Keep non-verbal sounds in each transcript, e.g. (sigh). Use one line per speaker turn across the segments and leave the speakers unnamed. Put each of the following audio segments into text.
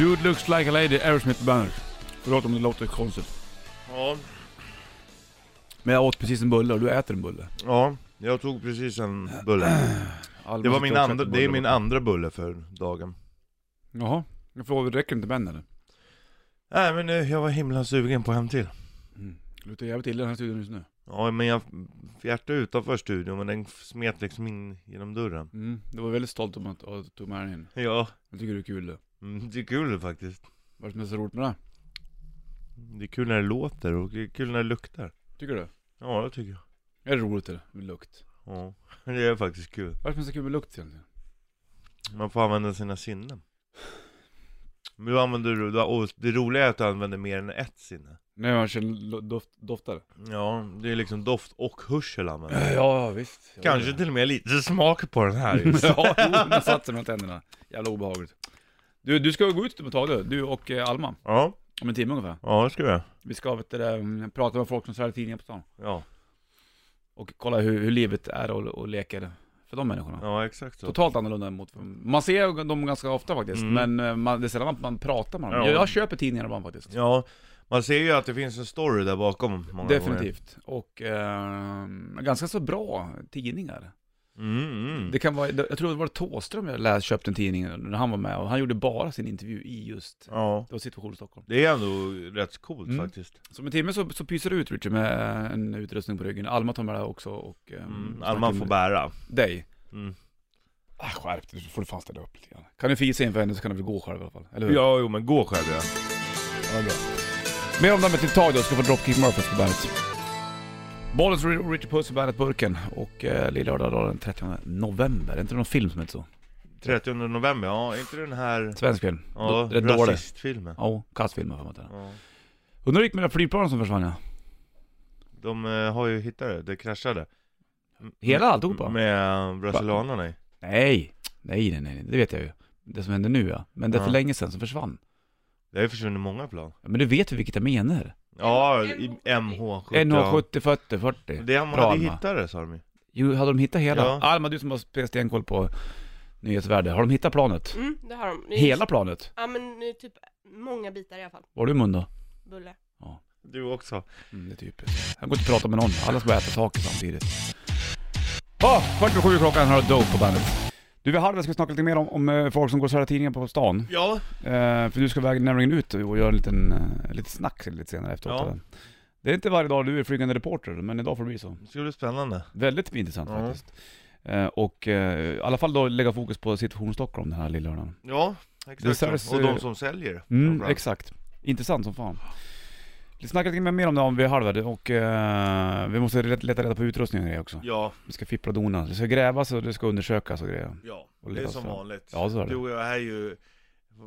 Dude looks like a lady, Aerosmith Banner. Förlåt om det låter konstigt.
Ja,
Men jag åt precis en bulle och du äter en bulle.
ja, jag tog precis en bulle.
Alma
Det, var
sitter
min
och
andra,
äter
det är
bullar.
min andra bulle för dagen.
Jaha. Jag frågar, räcker inte med den eller?
Nej men eh, jag var himla sugen på hem till.
Mm. Det luktar jävligt illa i den här studion just nu.
Ja men jag fjärtade utanför studion men den f- smet liksom in genom dörren.
Mm. Det var väldigt stolt om att att du tog med den in.
Ja,
Jag tycker det är kul det.
mm, det är kul faktiskt.
Vad är det som är så roligt med det?
Det är kul när det låter och det är kul när det luktar.
Tycker du?
Ja det tycker jag.
Är det roligt eller? Med lukt?
Ja, det är faktiskt kul.
Vad är det som är så kul med lukt egentligen?
Man får använda sina sinnen. Men du använder du, och det roliga är att du använder mer än ett sinne.
När man känner lo- doft, doftar?
Ja, det är liksom doft och hörsel använder.
Ja, visst. Jag
Kanske
vet
till och med lite smak på den (laughs) här
(laughs)
just.
ja, jo, den satt sig mellan tänderna. Jävla obehagligt. Du, du ska gå ut på Tage, du och eh, Alma,
Ja,
om en timme ungefär.
ja det ska vi göra.
Vi ska vet du, eh, prata med folk som säljer tidningar på stan.
Ja,
Och kolla hur, hur livet är och, och leker för de människorna.
ja exakt så.
Totalt annorlunda mot... Man ser dem ganska ofta faktiskt,
Mm.
men eh, man, det är sällan man pratar med dem.
Ja.
Jag, jag köper tidningar ibland faktiskt.
Ja, man ser ju att det finns en story där bakom många
Definitivt. Och eh, ganska så bra tidningar.
gånger. Mm, mm.
Det kan vara, jag tror det var Thåström jag läst, köpte en tidning när han var med och han gjorde bara sin intervju i just,
Ja,
det var Situation Stockholm.
det är ändå rätt coolt
Mm.
faktiskt.
Så om en timme så, så pyser det ut Richard med eh, en utrustning på ryggen. Alma tar med det också och... eh,
Mm.
snackar
Att man
med
får bära.
Dig.
Mm.
Ah, skärp dig, du får du fan ställa upp lite grann. Kan du fisa inför henne så kan du väl gå själv i alla fall, eller hur?
Ja, jo men gå själv ja.
Ja, bra. Mer om det här med tilltag då, ska få Dropkick Murphys på bandet. Bollens och Richard Puss i Bandet-burken och eh, Lill-Lördag då den 30 november. Är inte det någon film som heter så?
30 november, ja, är inte den här
Svensk film.
ja,
Rätt dålig.
rasistfilmen?
Ja, kass film har jag för mig att det är.
Ja.
Undrar hur det gick med det där flygplanet som försvann ja.
De eh, har ju hittat det, det kraschade. M-
Hela alltihopa?
Med eh, brasilianerna i.
Nej. nej, nej, nej, nej, det vet jag ju. Det som händer nu ja. Men det är för
Ja.
länge sedan som försvann.
Det har ju försvunnit många plan.
Ja, men du vet ju vilket jag menar.
Ja, i MH70. ja.
NH70, 40, 40.
Det man
Bra,
hade
Alma.
hittat det sa de ju.
Jo, hade de hittat hela?
Ja.
Alma, du som har stenkoll på nyhetsvärde. Har de hittat planet?
Mm, det har de.
Hela planet?
Ja men eh, typ många bitar i alla fall.
Var du mun då?
Bulle.
Du också.
Mm, det är typ. Jag går inte att prata med någon. Alla ska bara äta saker samtidigt. Oh, kvart över sju klockan har du Dope på bandet. Du, vid halv ska vi snacka lite mer om, om eh, folk som går och säljer tidningar på stan.
Ja.
Eh, för du ska iväg nämligen ut och göra en liten, eh, lite snack lite senare efteråt.
Ja.
Det är inte varje dag du är flygande reporter, men idag får det bli så.
Det ska bli spännande.
Väldigt intressant
Ja.
faktiskt. Eh, och eh, i alla fall då lägga fokus på situation Stockholm den här lilla lördagen.
Ja,
Det
exakt.
säljs,
så. och
eh,
de som säljer.
Mm,
framförallt.
exakt. Intressant som fan. Vi snackar lite mer om det om vi är halva det och eh, vi måste let- leta reda på utrustningen och grejer också.
Ja,
Vi ska fippla och dona. Det ska grävas och det ska undersökas och grejer.
ja.
Och
Det är
letas
som
fram.
vanligt.
Ja, så är det.
Du och jag är ju,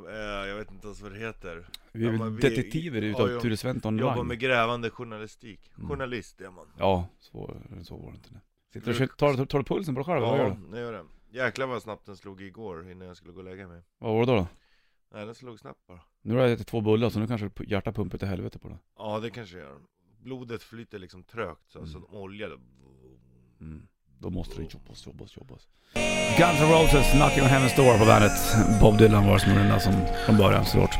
eh, jag vet inte ens vad det heter.
Vi är
Ja,
väl
men vi-
detektiver utav
ja, ja.
Ture Sventon
Jobbar
Lang.
med grävande journalistik.
Mm.
Journalist är man.
Ja, så, så var det inte. nu. Sitter du och kö- tar, tar, tar du pulsen på dig själv? eller Vad gör
Ja,
du?
det gör det. Jäklar vad snabbt den slog igår innan jag skulle gå och lägga mig.
Vad var det då? då?
Nej, den slog snabbt bara.
Nu har jag ätit två bullar så nu kanske pu- hjärtat pumpar till helvete på det.
Ja, det kanske gör. Blodet flyter liksom trögt, så alltså
Mm.
olja då.
Mm. Då måste det jobbas, jobbas, jobbas. Guns N' Roses, Knocking on Heaven's Door på bandet. Bob Dylan var som den där som från början såklart.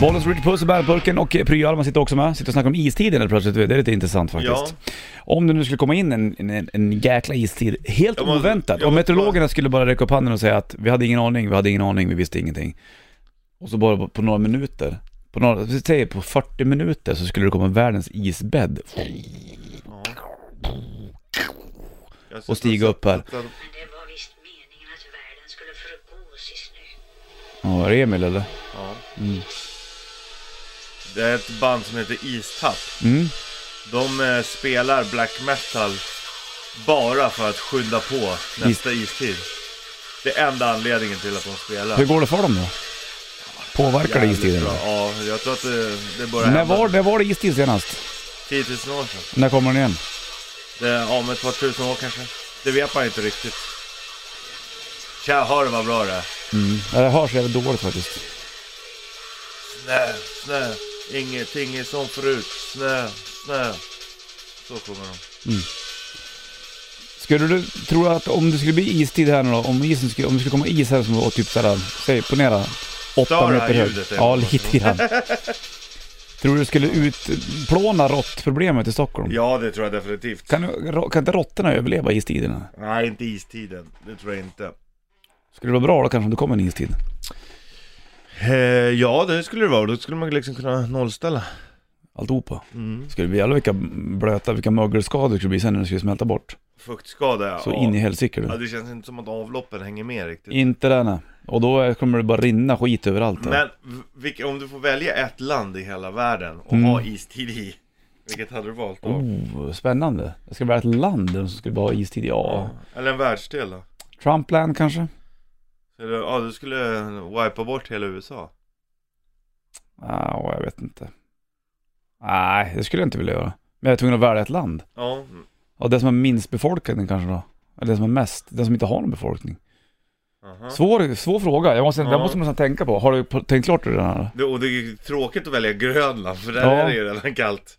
Bollens Richard Puss i bandburken och Pryo-Alma sitter också med. Sitter och snackar om istiden helt plötsligt. Det är lite intressant
Ja,
faktiskt. Om det nu skulle komma in en, en, en jäkla istid helt
Jag måste-
oväntat.
jag
Om
måste
meteorologerna skulle bara räcka upp handen och säga att vi hade ingen aning, vi hade ingen aning, vi visste ingenting. Och så bara på, på några minuter, på några, vi säger på 40 minuter så skulle det komma världens isbädd.
ja. Jag
Och stiga upp här.
sitter-
Men det var visst meningen att världen skulle förgås i snö.
Ja, är det Emil eller?
Ja.
Mm.
Det är ett band som heter Istapp.
Mm.
De eh, spelar black metal bara för att skynda på nästa istid. Det är enda anledningen till att de spelar.
Hur går det för dem då? Påverkar det
Jävligt
istiden?
bra. Ja, jag tror att det, det börjar
När
hända
var, när var det istid senast?
10 000 år sedan.
När kommer den igen?
Det, ja, om ett par tusen år kanske. Det vet man inte riktigt. Tja, hör du vad bra det är?
Ja, Det hörs jävligt dåligt faktiskt.
Snö, snö, ingenting är som förut. Snö, snö. Så sjunger de.
Skulle du, tror du att om det skulle bli istid här nu då, om isen skulle, om det skulle komma is här som var typ såhär, säg ponera
Stör
åtta
det
meter
här
hög.
ljudet, är
Ja,
det något?
lite grann. Tror du det skulle utplåna råttproblemet i Stockholm?
Ja, det tror jag definitivt.
Kan, du- kan inte råttorna överleva istiderna?
Nej, inte istiden. Det tror jag inte.
Skulle det vara bra då kanske om det kommer en istid?
Eh, ja, det skulle det vara. Då skulle man liksom kunna nollställa.
Alltihopa.
Mm.
Skulle vi jävlar vilka blöta, vilka mögelskador det skulle bli sen när det skulle smälta bort.
Fuktskada, ja.
Så in i helsike
ja.
du.
Det känns inte som att avloppen hänger med riktigt.
Inte det nej. Och då kommer det bara rinna skit överallt. där.
Men v- vilka, om du får välja ett land i hela världen och
Mm.
ha istid i, vilket hade du valt då?
Oh, spännande. Det ska vara ett land där de skulle bara ha istid. Ja.
Eller en världsdel då?
Trumpland kanske?
Så du- Ja, du skulle wipa bort hela USA.
Ja, jag vet inte. Nej, det skulle jag inte vilja göra. Men jag är tvungen att välja ett land.
Ja, mm.
Ja, det som är minst befolkning kanske då. Eller det som är mest, den som inte har någon befolkning.
aha.
Svår, svår fråga, jag måste,
Ja.
jag måste nästan tänka på. Har du på- tänkt klart det redan? eller?
Det, och det är ju tråkigt att välja Grönland, för där
Ja.
är det ju redan kallt.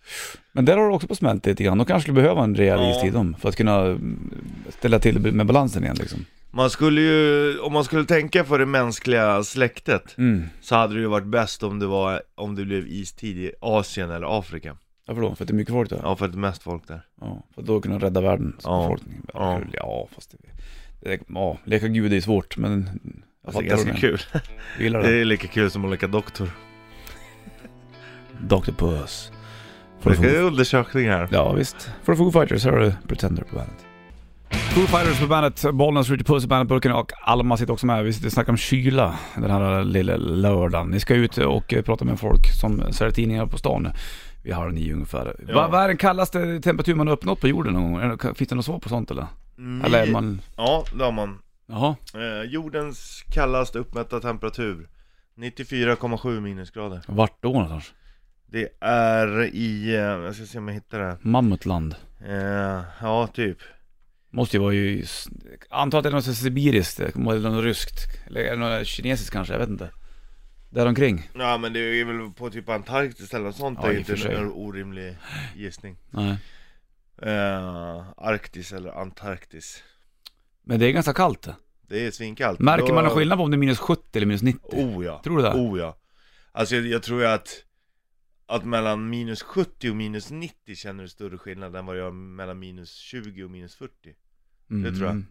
Men där har du också på smält lite grann. De kanske skulle behöva en rejäl
Ja.
istid om för att kunna mm, ställa till med balansen igen liksom.
Man skulle ju, om man skulle tänka för det mänskliga släktet,
Mm.
så hade det ju varit bäst om det var, om det blev istid i Asien eller Afrika.
Varför då? För att det är mycket folk där?
Ja, för att det är mest folk där.
Ja, för att då kunna rädda världens
Ja.
befolkning.
Ja.
Ja. ja, fast det... det är- ja, leka gud är svårt, men... Jag
Alltså, det är
fattar vad du
ganska
menar.
kul.
Jag gillar
Det
det.
är lika kul som att leka doktor.
Dr. Puss. Får du
Det är
få-
undersökningar.
Ja, visst. För Foo Fighters, här har du Pretender på bandet. Foo Fighters på bandet, Bollnäs, Ritchie Puss i bandetburken och Alma sitter också med. Vi sitter och snackar om kyla den här lilla lördagen. Ni ska ut och eh, prata med folk som säljer tidningar på stan vid halv nio ungefär.
Ja.
Vad, vad är den kallaste temperatur man har uppnått på jorden någon gång? Är det- Finns det något svar på sånt eller?
Mm.
Eller är man...
Ja, det har man.
Jaha.
Eh, jordens kallast uppmätta temperatur 94,7 minusgrader.
Vart då någonstans?
Det är i, eh, jag ska se om jag hittar det.
Mammutland.
Eh, ja, typ.
Måste ju vara ju... Antar att det är något sibiriskt, eller något ryskt. Eller är det något kinesiskt kanske, jag vet inte. Däromkring.
Ja men det är väl på typ Antarktis eller något sånt.
Ja,
det är
i och
inte
för sig.
en orimlig gissning.
Nej.
Eh, Arktis eller Antarktis.
Men det är ganska kallt det.
Det är svinkallt.
Märker
Då-
man en skillnad på om det är minus 70 eller minus 90?
Oh ja.
Tror du det?
Oh ja. Alltså jag, jag tror ju att, att mellan minus 70 och minus 90 känner du större skillnad än vad jag gör mellan minus 20 och minus 40.
Mm.
tror jag.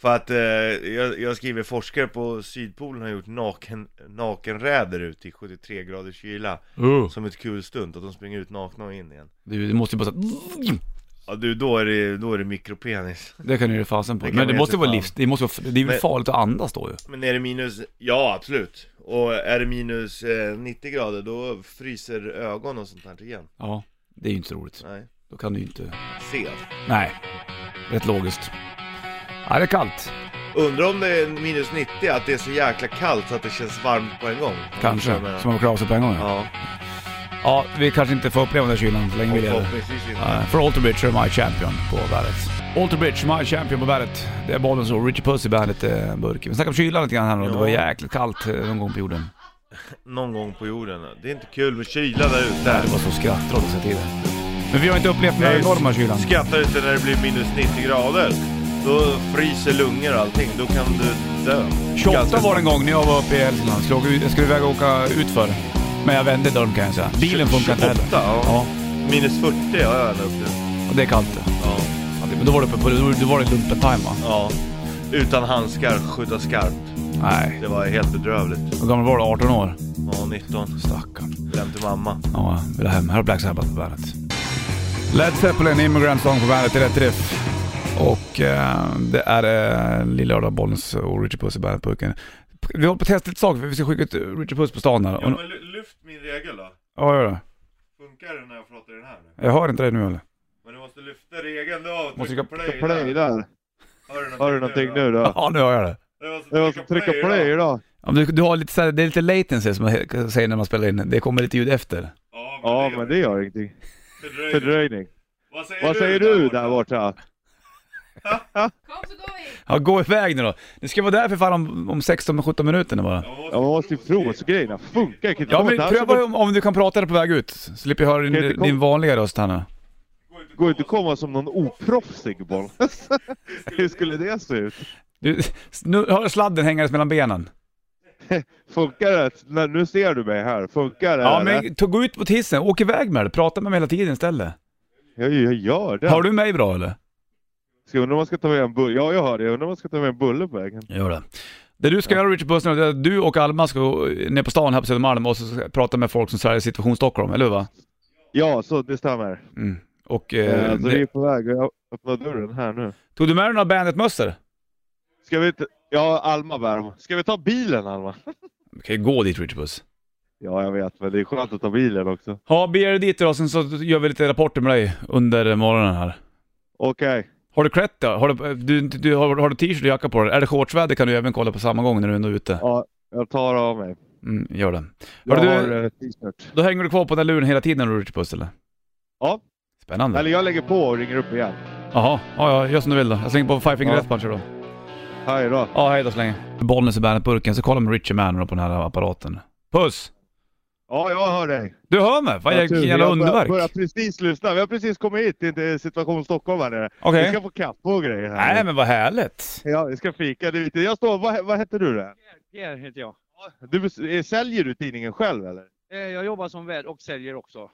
För att eh, jag, jag skriver forskare på Sydpolen har gjort naken, nakenräder ut i 73 graders kyla
Oh.
som ett kul stunt att de springer ut nakna och in igen.
Du, du måste ju bara så...
Ja du, då är det, då är det mikropenis. (laughs)
Det kan du ge fasen på.
Det kan
Men
man
det
ge
måste
sig
vara
fan.
livs... Det, måste vara... det är väl
Men-
farligt att andas då ju.
Men är det minus, ja absolut. Och är det minus eh, 90 grader då fryser ögon och sånt här igen.
Ja. Det är ju inte så roligt.
Nej,
Då kan du ju inte...
se.
Nej. Rätt logiskt. Ja, det är kallt.
Undrar om det är minus 90, att det är så jäkla kallt så att det känns varmt på en gång.
Kanske.
Jag menar.
Så man klarar sig på en gång. Ja.
Ja,
ja, vi kanske inte får uppleva den där kylan så länge vi
och
lever.
förhoppningsvis inte.
Nej, Eh, För Alterbridge är My Champion på bandet. Alterbridge, My Champion på bandet. Det är bollen så. Richie Puss i bandet eh, burk. Vi snackade om kylan lite grann här nu. Det var
Ja.
jäkligt kallt eh, någon gång på jorden.
Någon gång på jorden. Det är inte kul med kyla där
Nej,
ute.
det var så skrattråd så till det. Men vi har inte upplevt den här enorma kylan.
Skrattar inte när det blir minus 90 grader. Då fryser lungor och allting. Då kan du dö.
28
Ganska
var det en gång när jag var uppe i Hälsingland. Skulle, åka ut- jag skulle iväg och åka utför. Men jag vände dörren kan jag säga. Bilen funkar inte heller.
28, ja.
Ja,
Minus 40 har jag ända upp till.
och det är kallt det.
Ja.
Ja, det- Men då var det uppe på, då då var det lumpen-time va?
ja. Utan handskar, skjuta skarpt.
Nej.
Det var helt bedrövligt.
Hur gammal var du? 18 år?
Ja, 19.
Stackarn.
Läm till mamma.
Ja, vill hem. Här har Black Sabbath på bandet. Led Zeppelin, Immigrant Song på bandet, i rätt riff. Och eh, det är eh, Lilla Lördag, Bollens och Richard Puss i bandet-burken. Vi håller på att testa lite saker, vi ska skicka ut Richard Puss på stan här. Och-
lyft min regel då.
Ja, gör det.
Funkar det när jag pratar i den här nu?
Jag hör inte dig nu eller?
Men du måste lyfta regeln då.
Måste trycka
play.
Play där. Hör du någonting nu då?
Ja, nu hör jag det.
Jag måste trycka play då.
Ja, men du, du har lite så här, det är lite latency som man he- säger när man spelar in. Det kommer lite ljud efter.
Ja, men det gör ingenting. Fördröjning.
Vad säger,
Vad säger du där borta?
Kom så går vi!
Ja, gå iväg nu då. Ni ska vara där för fan om, om 16-17 minuter nu bara.
Ja, man måste ju prova så grejerna funkar. Jag kan inte
Ja, men
komma där som
pröva
en-
om, om du kan prata på väg ut. Slipper jag höra
Kan jag inte
din,
komma?
din vanliga röst här nu.
går ju inte att komma som någon oproffsig boll. (laughs) Hur skulle det se ut?
Du, nu hör sladden hängandes mellan benen.
Funkar det? När- Nu ser du mig här. Funkar det?
Ja,
eller?
men ta- gå ut på hissen, åk iväg med det, prata med mig hela tiden istället.
Jag, jag gör det.
Hör du mig bra eller?
Ska undra om man ska ta med en bulle. Ja, jag hör det. Jag undrar om man ska ta med en bulle på vägen.
Gör det. Det du ska göra Richard Puss nu, det är att du och Alma ska gå eh, ner på stan här på Södermalm och så ska jag prata med folk som säljer Situation Stockholm, eller hur va?
Ja, så det stämmer.
Mm. Och,
Eh,
eh,
så vi
det,
är på väg. Jag öppnar dörren här nu.
tog du med dig några Bandet-mössor?
Ska vi ta... Ja, Alma bär dem. Ska vi ta bilen, Alma?
Vi kan ju gå dit Richard Puss.
Ja, jag vet. Men det är skönt att ta bilen också.
Ja, bege dig dit då, sen så gör vi lite rapporter med dig under morgonen här.
Okej.
Har du klätt dig? Har du, eh, du, du, har, har du t-shirt och jacka på dig? Är det shortsväder kan du även kolla på samma gång när du är ändå ute.
Ja, jag tar av mig.
Mm, gör det.
Jag
Hörru, du-
har eh, t-shirt.
Då hänger du kvar på den luren hela tiden när du Richard Puss eller?
Ja.
Spännande.
Eller jag lägger på och ringer upp igen.
Jaha, ja, ja, gör som du vill då. Jag slänger på Five Finger
Ja.
Death Punch då.
Hej då.
Ja, hej då så länge. Bollnäs i Bandet-burken, så kolla med Richie Mann då på den här apparaten. Puss!
Ja, jag hör dig.
Du hör mig! Vad
Vad tur.
jävla, jävla
Jag bör-
underverk!
börjar precis lyssna. Vi har precis kommit hit in till Situation Stockholm här nere.
Okej.
Vi ska få kaffe och grejer här.
Nej men vad härligt!
Ja, vi ska fika. Det är lite- Jag står... Vad, vad heter du där?
Pierre heter jag.
Du, bes- eh, säljer du tidningen själv eller?
Eh, Jag jobbar som värd och säljer också.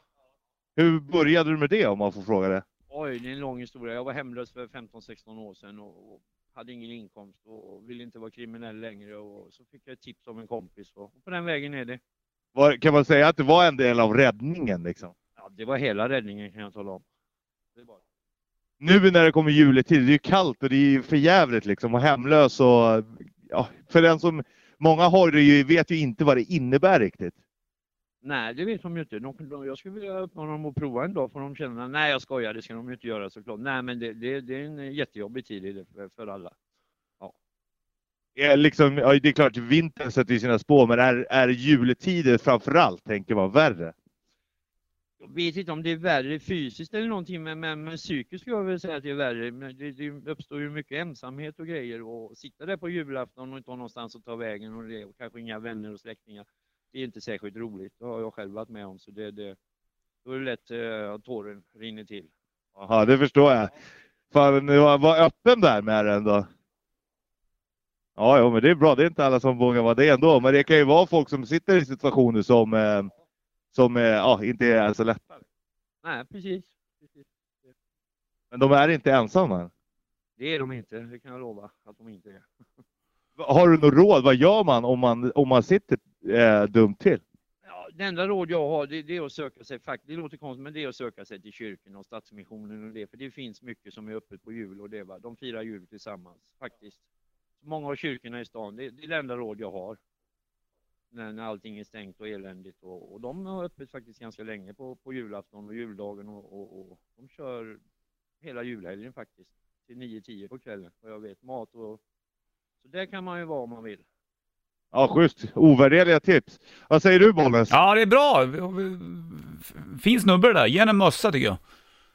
Hur började du med det om man får fråga det?
Oj, det är en lång historia. Jag var hemlös för 15-16 år sedan och och hade ingen inkomst och och ville inte vara kriminell längre. Och så fick jag ett tips av en kompis och och på den vägen är det.
Var, kan man säga att det var en del av räddningen liksom?
Ja, det var hela räddningen kan jag tala om. Det var...
Nu när det kommer juletid, det är ju kallt och det är ju för jävligt liksom och hemlös och... Ja, för den som... Många har det ju, vet ju inte vad det innebär riktigt.
Nej, det vet de ju inte. De, de, jag skulle vilja uppmana dem att prova en dag för de känner nej jag skojar, det ska de ju inte göra såklart. Nej, men det, det, det är en jättejobbig tid i det för, för alla.
Ja, liksom, ja, det är klart, vintern sätter ju sina spår, men är, är juletider framförallt, tänker man, värre?
Jag vet inte om det är värre fysiskt eller någonting, men, men, men psykiskt skulle jag väl säga att det är värre. Men det, det uppstår ju mycket ensamhet och grejer och sitta där på julafton och inte ha någonstans att ta vägen och, det, och kanske inga vänner och släktingar. Det är inte särskilt roligt. Det har jag själv varit med om, så det, det, då är det lätt eh, att tåren rinner till.
Jaha, det förstår jag. Fan, du var, var öppen där med det ändå. Ja, jo, men det är bra. Det är inte alla som vågar vara det ändå. Men det kan ju vara folk som sitter i situationer som, eh, som eh, ja, inte är så lätta.
Nej, precis. precis.
Men de är inte ensamma.
Det är de inte, det kan jag lova att de inte är.
Har du något råd? Vad gör man om man, om man sitter eh, dumt till?
Ja, det enda råd jag har det, det är att söka sig, fakt- det låter konstigt, men det är att söka sig till kyrkan och Stadsmissionen och det, för det finns mycket som är öppet på jul och det, va? de firar jul tillsammans faktiskt. Många av kyrkorna i stan, det, det är det enda råd jag har. När, när allting är stängt och eländigt och, och de har öppet faktiskt ganska länge på, på julafton och juldagen och, och, och de kör hela julhelgen faktiskt, till 9-10 på kvällen vad jag vet, mat och så där kan man ju vara om man vill.
Ja, schysst. Ovärderliga tips. Vad säger du, Bollnäs?
Ja det är bra! Fin snubbe det där, ge henne en mössa tycker jag.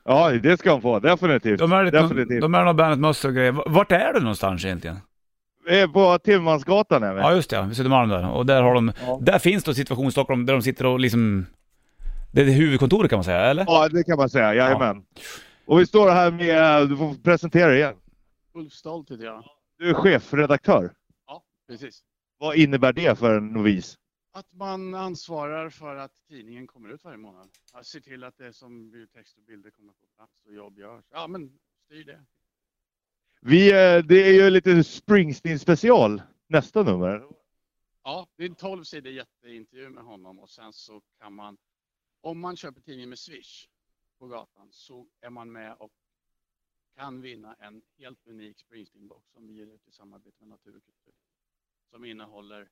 Ja, det ska han få. Definitivt.
De är lite,
Definitivt.
de är några Bandet-mössor och grejer. V- Vart är du någonstans egentligen?
Eh, På Timmansgatan är vi.
Ja just det, vid Södermalm där. Och där har de,
Ja.
där finns då Situation Stockholm där de sitter och liksom... Det är det huvudkontoret kan man säga, eller?
Ja, det kan man säga. Jajamän. Och vi står här med, du får presentera dig igen.
Ulf Stolt heter jag.
Du är chefredaktör.
Precis.
Vad innebär det för en novis?
Att man ansvarar för att tidningen kommer ut varje månad. Att se till att det som blir text och bilder kommer på plats och jobb görs. Ja, men styr det.
Vi, eh, det är ju lite Springsteen special, nästa nummer.
Ja, det är en 12 sidor jätteintervju med honom och sen så kan man, om man köper tidningen med Swish på gatan så är man med och kan vinna en helt unik Springsteen-bok som vi ger ut i samarbete med Natur och kultur. Som innehåller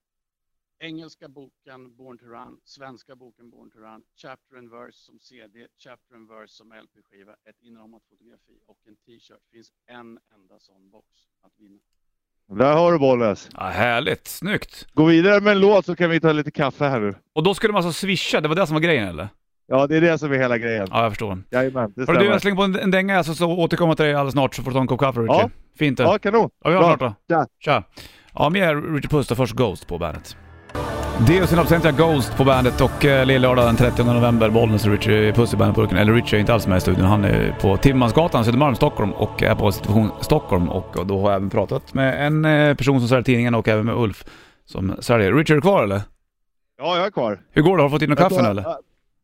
engelska boken Born to Run, svenska boken Born to Run, Chapter and Verse som CD, Chapter and Verse som LP-skiva, ett inramat fotografi och en t-shirt. finns en enda sån box att vinna.
Där har du Bollnäs.
Ja, härligt, snyggt.
Gå vidare med en låt så kan vi ta lite kaffe här nu.
Och då skulle man alltså swisha, det var det som var grejen eller?
Ja, det är det som är hela grejen.
Ja, jag förstår.
Jajamän, det
Hörru du,
stämmer.
jag slänger på en, en dänga här, så, så återkommer jag till dig alldeles snart så får du ta en kopp kaffe Richie.
Ja.
Fint det.
Ja, kanon.
Ja, vi hörs
Bra.
snart då. Tja.
Tja.
Ja, mer Richie Puss och först Ghost på bandet. Deus in absentia Ghost på bandet och eh, lördag den 30 november, Bollnäs och Richie Puss i bandetburken. Eller Richie är inte alls med i studion, han är på Timmansgatan, Södermalm, Stockholm och är på Situation Stockholm. Och, och då har jag även pratat med en eh, person som säljer tidningen och även med Ulf som säljer. Richard, är du kvar eller?
Ja, jag är kvar.
Hur går det? Har du fått in något kaffe nu eller?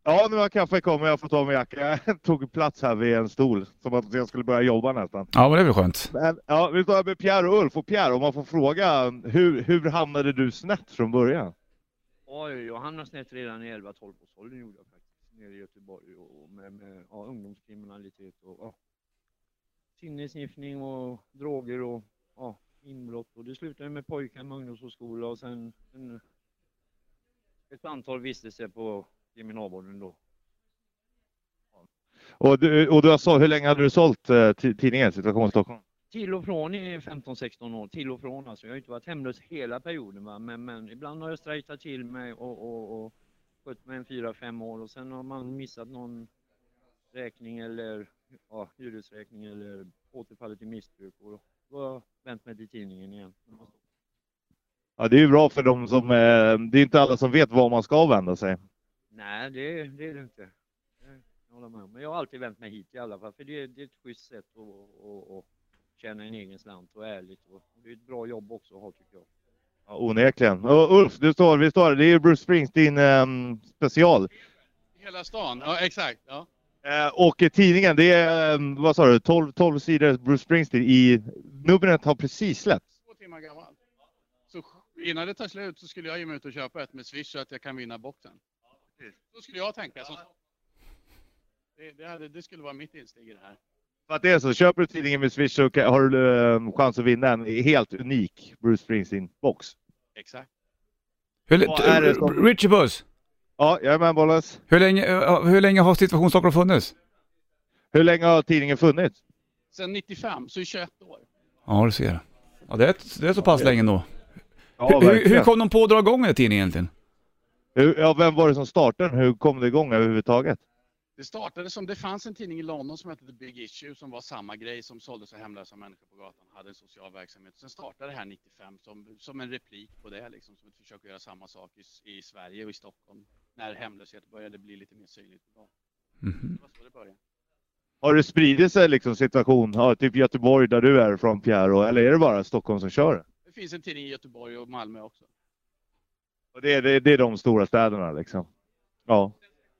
Ja, nu har kaffe kommit. Jag får ta min jacka. Jag tog plats här vid en stol. Som att jag skulle börja jobba nästan.
Ja, men det är väl skönt.
Men, ja, vi tar med Pierre och Ulf. Och Pierre, om man får fråga, hur, hur hamnade du snett från början?
Ja, jag hamnade snett redan i 11-12 års åldern gjorde jag faktiskt. Nere i Göteborg och med, med ja, ungdomskriminalitet och ja, sinnesniffning och droger och ja, inbrott. Och det slutade med pojkar med ungdomsskola och sen en, ett antal vistelser på kriminalvården då.
Och du, och du sa, hur länge hade du sålt eh, ti- tidningen Situation Stockholm?
Till och från i 15-16 år, till och från alltså. Jag har inte varit hemlös hela perioden va? Men, men ibland har jag strejtat till mig och, och, och skött mig en 4-5 år och sen har man missat någon räkning eller ja, hyresräkning eller återfallit i missbruk och då har jag vänt mig till tidningen igen.
Ja, det är ju bra för dem som... Eh, det är inte alla som vet var man ska vända sig.
Nej, det, det är det inte. Det håller jag med om. Men jag har alltid vänt mig hit i alla fall, för det, är- det är ett schysst sätt att, att, att, att tjäna en egen slant och ärligt. Och det är ett bra jobb också att ha tycker jag.
Ja, onekligen. Och Ulf, du står, vi står här. Det är ju Bruce Springsteen ehm, special.
Hela stan, ja exakt. Ja.
Eh, och eh, tidningen, det är, ehm, vad sa du, 12, 12 sidor Bruce Springsteen i... Numret har precis släppts.
två timmar gammal. Så innan det tar slut så skulle jag ge mig ut och köpa ett med Swish så att jag kan vinna boxen. Så skulle jag tänka. Som... Det, det, hade, det skulle vara mitt insteg i det här.
För att det är så, köper du tidningen med Swish så kan- har du ehm, chans att vinna en helt unik Bruce Springsteen-box.
Exakt.
Hur,
Vad är det som-
Richard Puss,
Ja, jag är med Bollas.
hur länge, eh, hur länge har Situation Stockholm funnits?
Hur länge har tidningen funnits?
Sen 95, så i 21 år.
Ja, du ser. Ja, det är, det är så pass länge ändå.
Ja,
hur, hur
verkligen.
kom de på att dra igång den här tidningen egentligen?
Hur- ja, vem var det som startade den? Hur kom det igång överhuvudtaget?
Det startade som, det fanns en tidning i London som hette The Big Issue som var samma grej som sålde så hemlösa människor på gatan, hade en social verksamhet. Sen startade det här 95 som, som en replik på det, liksom, som ett försök att göra samma sak i, S- i Sverige och i Stockholm när hemlöshet började bli lite mer synligt. på gatan.
Mhm.
Det var så det började.
Har det spridit sig liksom situation, ja, typ Göteborg där du är från Pierre, och- eller är det bara Stockholm som kör det?
Det finns en tidning i Göteborg och Malmö också.
Och det, är- det, är- det är de stora städerna liksom. Ja.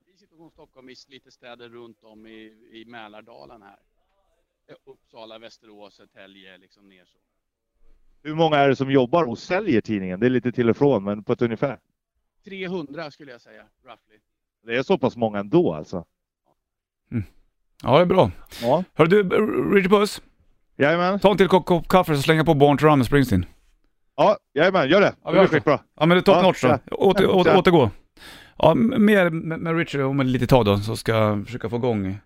Vi sitter från Stockholm i lite städer runt om i, i Mälardalen här. Eh, Uppsala, Västerås, Södertälje, liksom ner så.
Hur många är det som jobbar och säljer tidningen? Det är lite till och från, men på ett ungefär.
300 skulle jag säga, roughly.
Det är så pass många ändå alltså.
Ja, det är bra.
Ja.
Hör du, R- Richard Puss,
Jajamän.
ta en till kopp, kopp kaffe så slänger jag på Born to Run med Springsteen.
Ja, jajamän, gör det.
Ja, vi
det blir
hörs då.
skitbra.
Ja, men det är top
Ja,
notch då.
ja.
Åter,
Ja,
åter,
ja.
återgå. Ja, m- mer med, med Richard om ett litet tag då, så ska jag försöka få igång...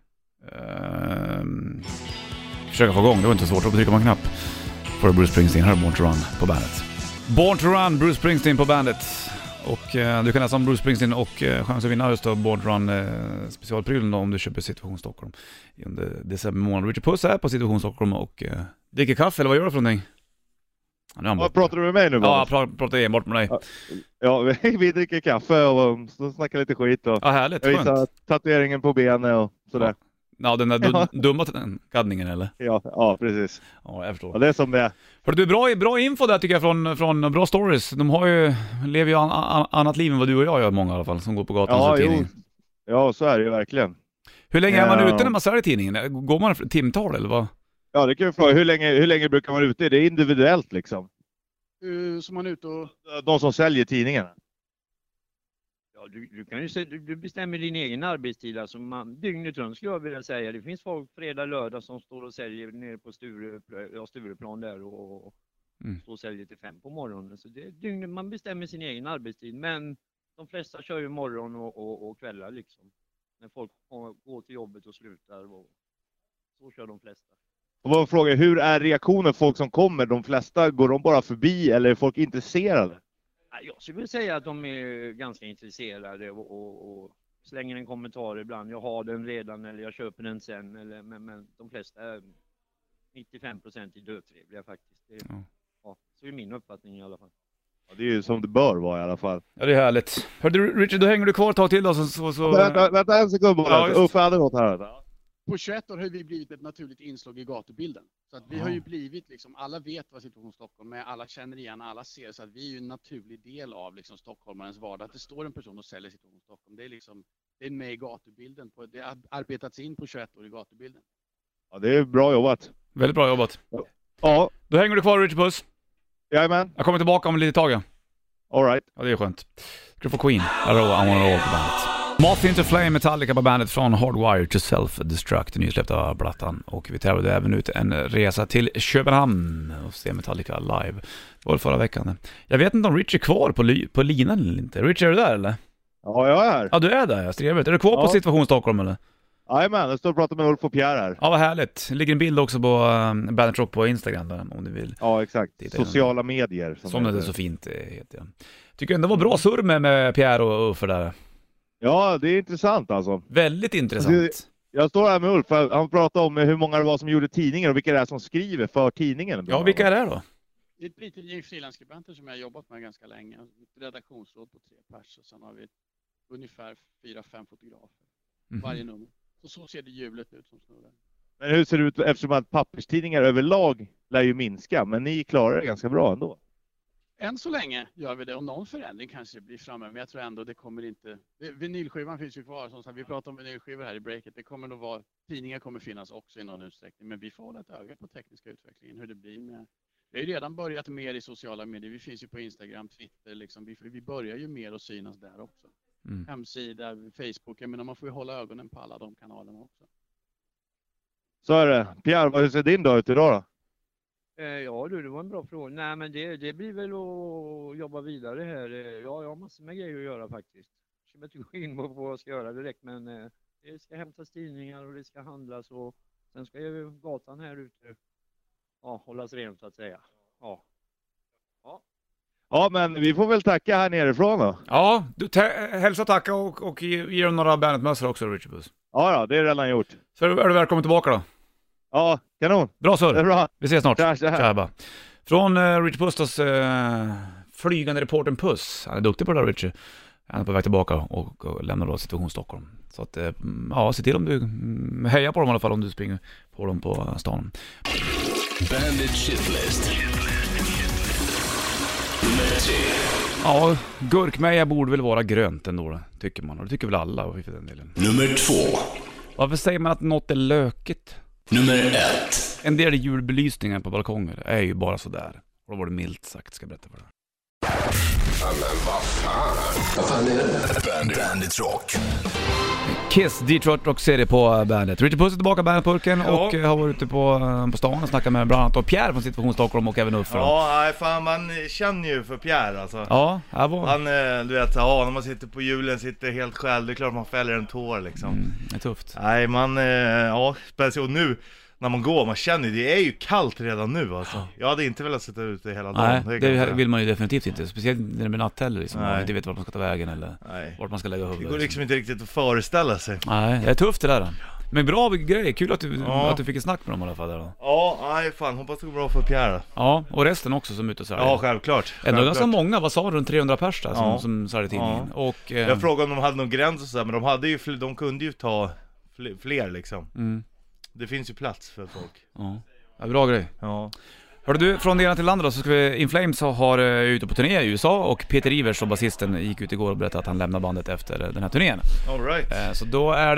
ehm, försöka få igång, det var inte svårt. Då trycker man en knapp. Får du Bruce Springsteen, här är Born to Run på bandet. Born to Run, Bruce Springsteen på bandet. Och eh, du kan läsa om Bruce Springsteen och eh, chans att vinna just då Born to Run eh, specialprylen då, om du köper Situation Stockholm under december månad. Richard Puss är på Situation Stockholm och eh, dricker kaffe, eller vad gör du för någonting? Ja, nu är han
Vad
borta.
pratar du med mig nu
Ja,
Boris?
jag pratar, pratar enbart med dig.
Ja, vi, vi dricker kaffe och um, så snackar lite skit och
Ja, härligt.
jag
Skönt.
visar tatueringen på benet och sådär.
Ja, den där
Ja.
du, dumma t- kaddningen eller?
Ja, ja precis.
Ja, jag
Ja,
förstår.
det är som det är.
Hörru du, bra, bra info där tycker jag från, från Bra Stories. De har ju, lever ju an, an, annat liv än vad du och jag gör många i alla fall, som går på gatan och
Ja,
säljer
jo.
tidningen.
ja, så är det ju verkligen.
Hur länge är man
Ja.
ute när man säljer tidningen? Går man för- timtal eller vad?
Ja, det kan vi fråga. Hur länge, hur länge brukar man vara ute? Det är individuellt liksom.
Eh, Så man är ute och...
De som säljer tidningarna.
Ja, du, du, kan ju se, du, du bestämmer din egen arbetstid, alltså man, dygnet runt skulle jag vilja säga. Det finns folk fredag, lördag som står och säljer nere på Sture, ja, Stureplan där och, och
Mm.
står och säljer till fem på morgonen. Så det, är dygnet, man bestämmer sin egen arbetstid, men de flesta kör ju morgon och, och, och kvällar liksom. När folk har- går till jobbet och slutar. Och, så kör de flesta.
Och vad frågar, hur är reaktionen folk som kommer? De flesta, går de bara förbi eller är folk intresserade?
Ja, Jag skulle vilja säga att de är ganska intresserade och, och, och slänger en kommentar ibland. Jag har den redan eller jag köper den sen. Eller, men, men de flesta, är 95 procent, är dötrevliga faktiskt. Det,
Ja.
ja. så är min uppfattning i alla fall.
Ja, det är ju som det bör vara i alla fall.
Ja, det är härligt. Hörru du, Richard, då hänger du kvar ett tag till då så... så, så...
Vänta, vänta en sekund bara.
Ja, just.
Uffe hade något här.
på 21 år har vi blivit ett naturligt inslag i gatubilden. Så att vi har ju blivit liksom, alla vet vad Situation Stockholm är, alla känner igen, alla ser. Så att vi är ju en naturlig del av liksom stockholmarens vardag. Att det står en person och säljer Situation Stockholm, det är liksom, det är med i gatubilden. På, det har arbetats in på 21 år i gatubilden.
Ja, det är bra jobbat.
Väldigt bra jobbat.
Ja,
Då hänger du kvar Richard Puss.
jajamän.
Jag kommer tillbaka om ett litet tag. ja.
Alright.
Ja, det är skönt. Ska du få Queen, Arroa, I wanna roll på bandet. Moth Into Flame Metallica på bandet från Hardwire to Self-Destruct, nysläppta plattan. Och vi tävlade även ut en resa till Köpenhamn och se Metallica live. Det var förra veckan. Jag vet inte om Rich är kvar på, ly- på linan eller inte. Rich, är du där eller?
Ja, jag är här.
Ja, du är där ja. Trevligt. Är du kvar på
Ja.
Situation Stockholm eller?
Jajamän, jag står och pratar med Ulf och Pierre här.
Ja, vad härligt. Det ligger en bild också på um, Bandet Rock på Instagram där, om du vill.
Ja, exakt.
Det är det.
Sociala medier.
Som det
heter.
så fint eh, heter. jag. Tycker ändå det var bra surr med, med Pierre och Uffe där.
Ja, det är intressant alltså.
Väldigt intressant.
Jag står här med Ulf, han pratar om hur många det var som gjorde tidningen och vilka det är som skriver för tidningen.
Ja, vilka är det då?
Det är ett litet gäng frilanskribenter som jag har jobbat med ganska länge. Ett redaktionsråd på tre pers och sen har vi ungefär fyra, fem fotografer
Mhm.
varje nummer. Så, så ser det hjulet ut som snurrar.
Men hur ser det ut eftersom att papperstidningar överlag lär ju minska, men ni klarar det ganska bra ändå.
Än så länge gör vi det och någon förändring kanske det blir framöver. Men jag tror ändå det kommer inte. Vinylskivan finns ju kvar. Som sagt, vi pratar om vinylskivor här i breaket. Det kommer nog vara. Tidningar kommer finnas också i någon utsträckning, men vi får hålla ett öga på tekniska utvecklingen, hur det blir med. Vi har ju redan börjat mer i sociala medier. Vi finns ju på Instagram, Twitter, liksom. vi, vi börjar ju mer att synas där också.
Mm.
Hemsida, Facebook. Jag menar, man får ju hålla ögonen på alla de kanalerna också.
Så är det. Pierre, vad- hur ser din dag ut idag då?
Eh, Ja du, det var en bra fråga. Nej men det, det blir väl att jobba vidare här. Eh, Ja, jag har massor med grejer att göra faktiskt. Jag kommer inte (laughs) gå in på vad jag ska göra direkt men eh, det ska hämtas tidningar och det ska handlas och sen ska ju gatan här ute ja, hållas ren så att säga. Ja.
Ja, men vi får väl tacka här nerifrån då.
Ja, du tä- hälsa, tacka och, och ge ge dem några Bandet-mössor också Richard Puss.
Ja, ja, det är redan gjort.
Så är du är du välkommen tillbaka då.
Ja, kanon.
Bra
Det är
surr.
bra.
Vi ses snart.
Tja, tja.
Tja, bara. Från uh, Richard Puss då, eh, flygande reportern Puss. Han är duktig på det där Richard. Han är på väg tillbaka och, och lämnar då Situation Stockholm. Så att, eh, mm, ja, se till om du mm, hejar på dem i alla fall om du springer på dem på eh, stan.
Bandit Shitlist. Nummer tre.
Ja, gurkmeja borde väl vara grönt ändå, då, tycker man. Och det tycker väl alla för den delen.
Nummer två.
Varför säger man att något är lökigt?
Nummer ett.
En del julbelysningar på balkonger är ju bara sådär. Och då var det milt sagt, ska jag berätta för dig.
Bandit, Bandit Rock.
Kiss, Detroit Rock City på bandet. Richard Puss är tillbaka i bandetburken och eh, har varit ute på, eh, på stan och snackat med bland annat då Pierre från Situation Stockholm och även Uffe. Ja.
Ja, nej, fan man känner ju för Pierre alltså.
ja, här var han.
Han, eh, du vet, ja, när man sitter på hjulen, sitter helt själv, det är klart man fäller en tår liksom.
Mm.
Det är tufft.
Nej, man, eh, ja, speciellt nu när man går, man känner ju, det är ju kallt redan nu alltså. Jag hade inte velat sitta ute hela dagen.
Nej,
kan jag
det
säga.
vill man ju definitivt inte. Speciellt när det blir natt heller liksom. Man
Nej.
inte vet vart man ska ta vägen eller
Nej.
vart man ska lägga
Det
huvudet.
går liksom inte riktigt att föreställa sig.
Nej, det är tufft det där. Men bra grej, kul att du,
Ja.
att du fick ett snack med dem i alla fall. Där, då.
Ja, nej fan, hoppas det går bra för Pierre.
Ja, och resten också som är ute och säljer.
Ja, självklart.
Ändå
självklart.
ganska många, vad sa du, runt 300 pers där som,
Ja.
som säljer tidningen. Och... eh,
Jag frågade om de hade någon gräns och sådär, men de hade ju, fl- de kunde ju ta fl- fler liksom.
Mm.
Det finns ju plats för folk.
Ja. Ja, bra grej.
Ja.
Hörru du, från det ena till det andra då, så ska vi... In Flames har, eh, är ute på turné i USA och Peter Ivers, som basisten, gick ut igår och berättade att han lämnar bandet efter eh, den här turnén.
All right.
Eh, Så då är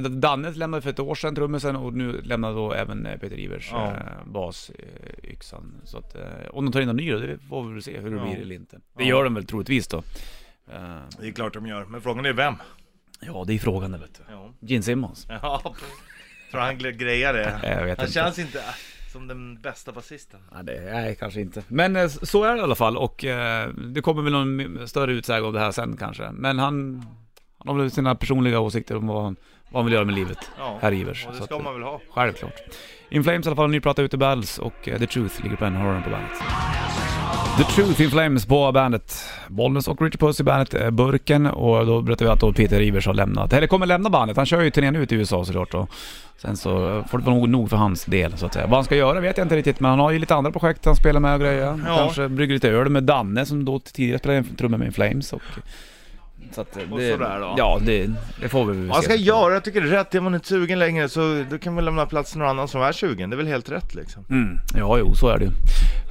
det... Danne lämnade för ett år sedan trummisen och nu lämnar då även eh, Peter Ivers
Ja.
eh, bas, eh, yxan. Så att, eh, om de tar in någon ny då, det får vi väl se hur det
Ja.
blir eller inte. Det
Ja.
gör de väl troligtvis då. Eh,
Det är klart de gör, men frågan är vem?
Ja, det är frågan det vet du.
Ja.
Gene Simmons. Eh,
ja. Tror han grejar det?
Jag vet
Han
inte.
känns inte äh, som den bästa basisten.
Ja, det, nej, kanske inte. Men eh, så är det i alla fall och eh, det kommer väl någon m- större utsäga om det här sen kanske. Men han, han har väl sina personliga åsikter om vad han, vad han vill göra med livet.
Ja.
Herr Ivers.
Och
Så
det
att,
ska man väl ha.
Självklart. In Flames i alla fall, en ny platta ute i Battles och eh, The Truth ligger på en hörn på bandet. The Truth in Flames på bandet. Bollnäs och Richard Puss i bandet eh, Burken och då berättar vi att då Peter Ivers har lämnat, eller kommer lämna bandet. Han kör ju turnén ut i USA såklart då. Sen så eh, får det vara nog- nog för hans del så att säga. Vad han ska göra vet jag inte riktigt men han har ju lite andra projekt han spelar med och grejer.
Ja.
Kanske brygger lite öl med Danne som då tidigare spelade trummor med In Flames och Så att eh, det,
Och sådär då.
Ja, det, det får vi väl
Man
se.
ska göra, jag tycker det är rätt. Är man inte sugen längre så då kan man lämna plats till någon annan som är sugen. Det är väl helt rätt liksom.
Mm. Ja, jo, så är det ju.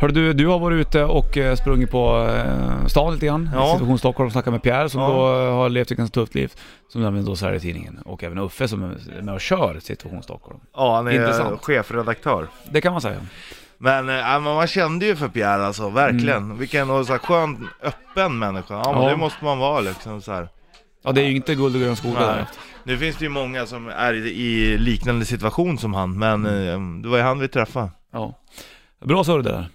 Hörru du, du har varit ute och eh, sprungit på eh, stan lite grann.
Ja.
Situation Stockholm och snackat med Pierre som
Ja.
då eh, har levt ett ganska tufft liv. Som även då säljer tidningen. Och även Uffe som är med och kör Situation Stockholm.
Ja, han är
Intressant.
chefredaktör.
Det kan man säga.
Men, eh, ja, men man kände ju för Pierre alltså, verkligen. Vilken och så här, skön, öppen människa. Ja, men
Mm. Ja.
det måste man vara liksom så här.
Ja, det är ju inte guld och grön skog
Nej.
där.
Nu finns det ju många som är i, i liknande situation som han, men
Mm.
eh, det var ju han vi träffade.
Ja. Bra sa du det där.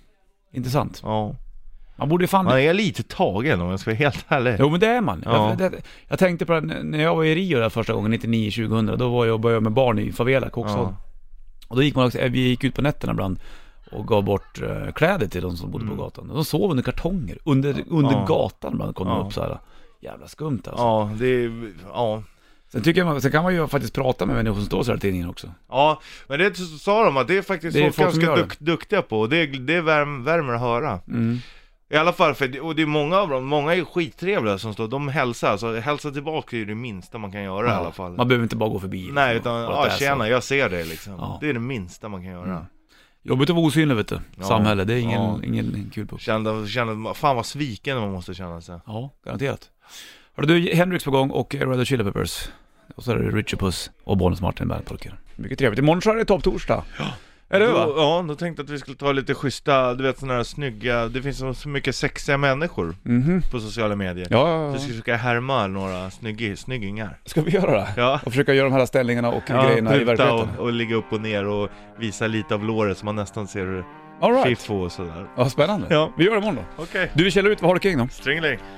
Intressant.
Ja.
Man borde ju fan...
Man är lite tagen om jag ska vara helt ärlig.
Jo men det är man.
Ja.
Jag, det, jag tänkte på det här, när jag var i Rio där första gången, 99-2000, då var jag och började med barn i favela, Kokshåll.
Ja.
Och då gick man också, eh, vi gick ut på nätterna ibland och gav bort eh, kläder till de som bodde på gatan. De sov under kartonger, under, under
Mm. Ja.
gatan ibland kom de
Ja.
upp så här. Jävla skumt alltså.
Ja, det är, ja.
Sen tycker jag, man- sen kan man ju faktiskt prata med människor som står så här i tidningen också.
Ja, men det sa de att det är faktiskt
Det är
folk
folk som
ganska
gör det.
duk, duktiga på och det, det värm, värmer att höra.
Mm.
I alla fall, för, det- och det är många av dem, många är skittrevliga som står, de hälsar, alltså hälsa tillbaka är ju det minsta man kan göra i alla fall.
Man behöver inte bara gå förbi. liksom,
Nej, utan
och bara
ja,
läsa.
tjena, jag ser dig liksom.
Ja. Mm.
Det är det minsta man kan göra.
Jobbigt att vara osynlig vet du.
Ja.
Samhälle, det är ingen,
Ja.
ingen kul på.
Kände, kände, fan vad sviken man måste känna sig.
Ja, garanterat. Hörru du, Hendrix på gång och Red Hot Chili Peppers. Och så är det Richie Puss och Bonus Martin Bandpulker. Mycket trevligt. Imorgon så är det topptorsdag. Ja. Är det va?
Då, ja, då tänkte jag att vi skulle ta lite schyssta, du vet sådana här snygga, det finns så- så mycket sexiga människor
Mhm.
på sociala medier.
Ja, ja,
Vi
ja.
ska försöka härma några snygg, snyggingar.
Ska vi göra det?
Ja.
Och försöka göra de här ställningarna och
Ja,
grejerna i
puta
verkligheten?
och, och ligga upp och ner och visa lite av låret så man nästan ser hur
All right.
fiffo och sådär.
Ja, spännande.
Ja.
Vi gör det imorgon då.
Okej.
Du, vi källar ut. Vad har du kring då?
Stringeling.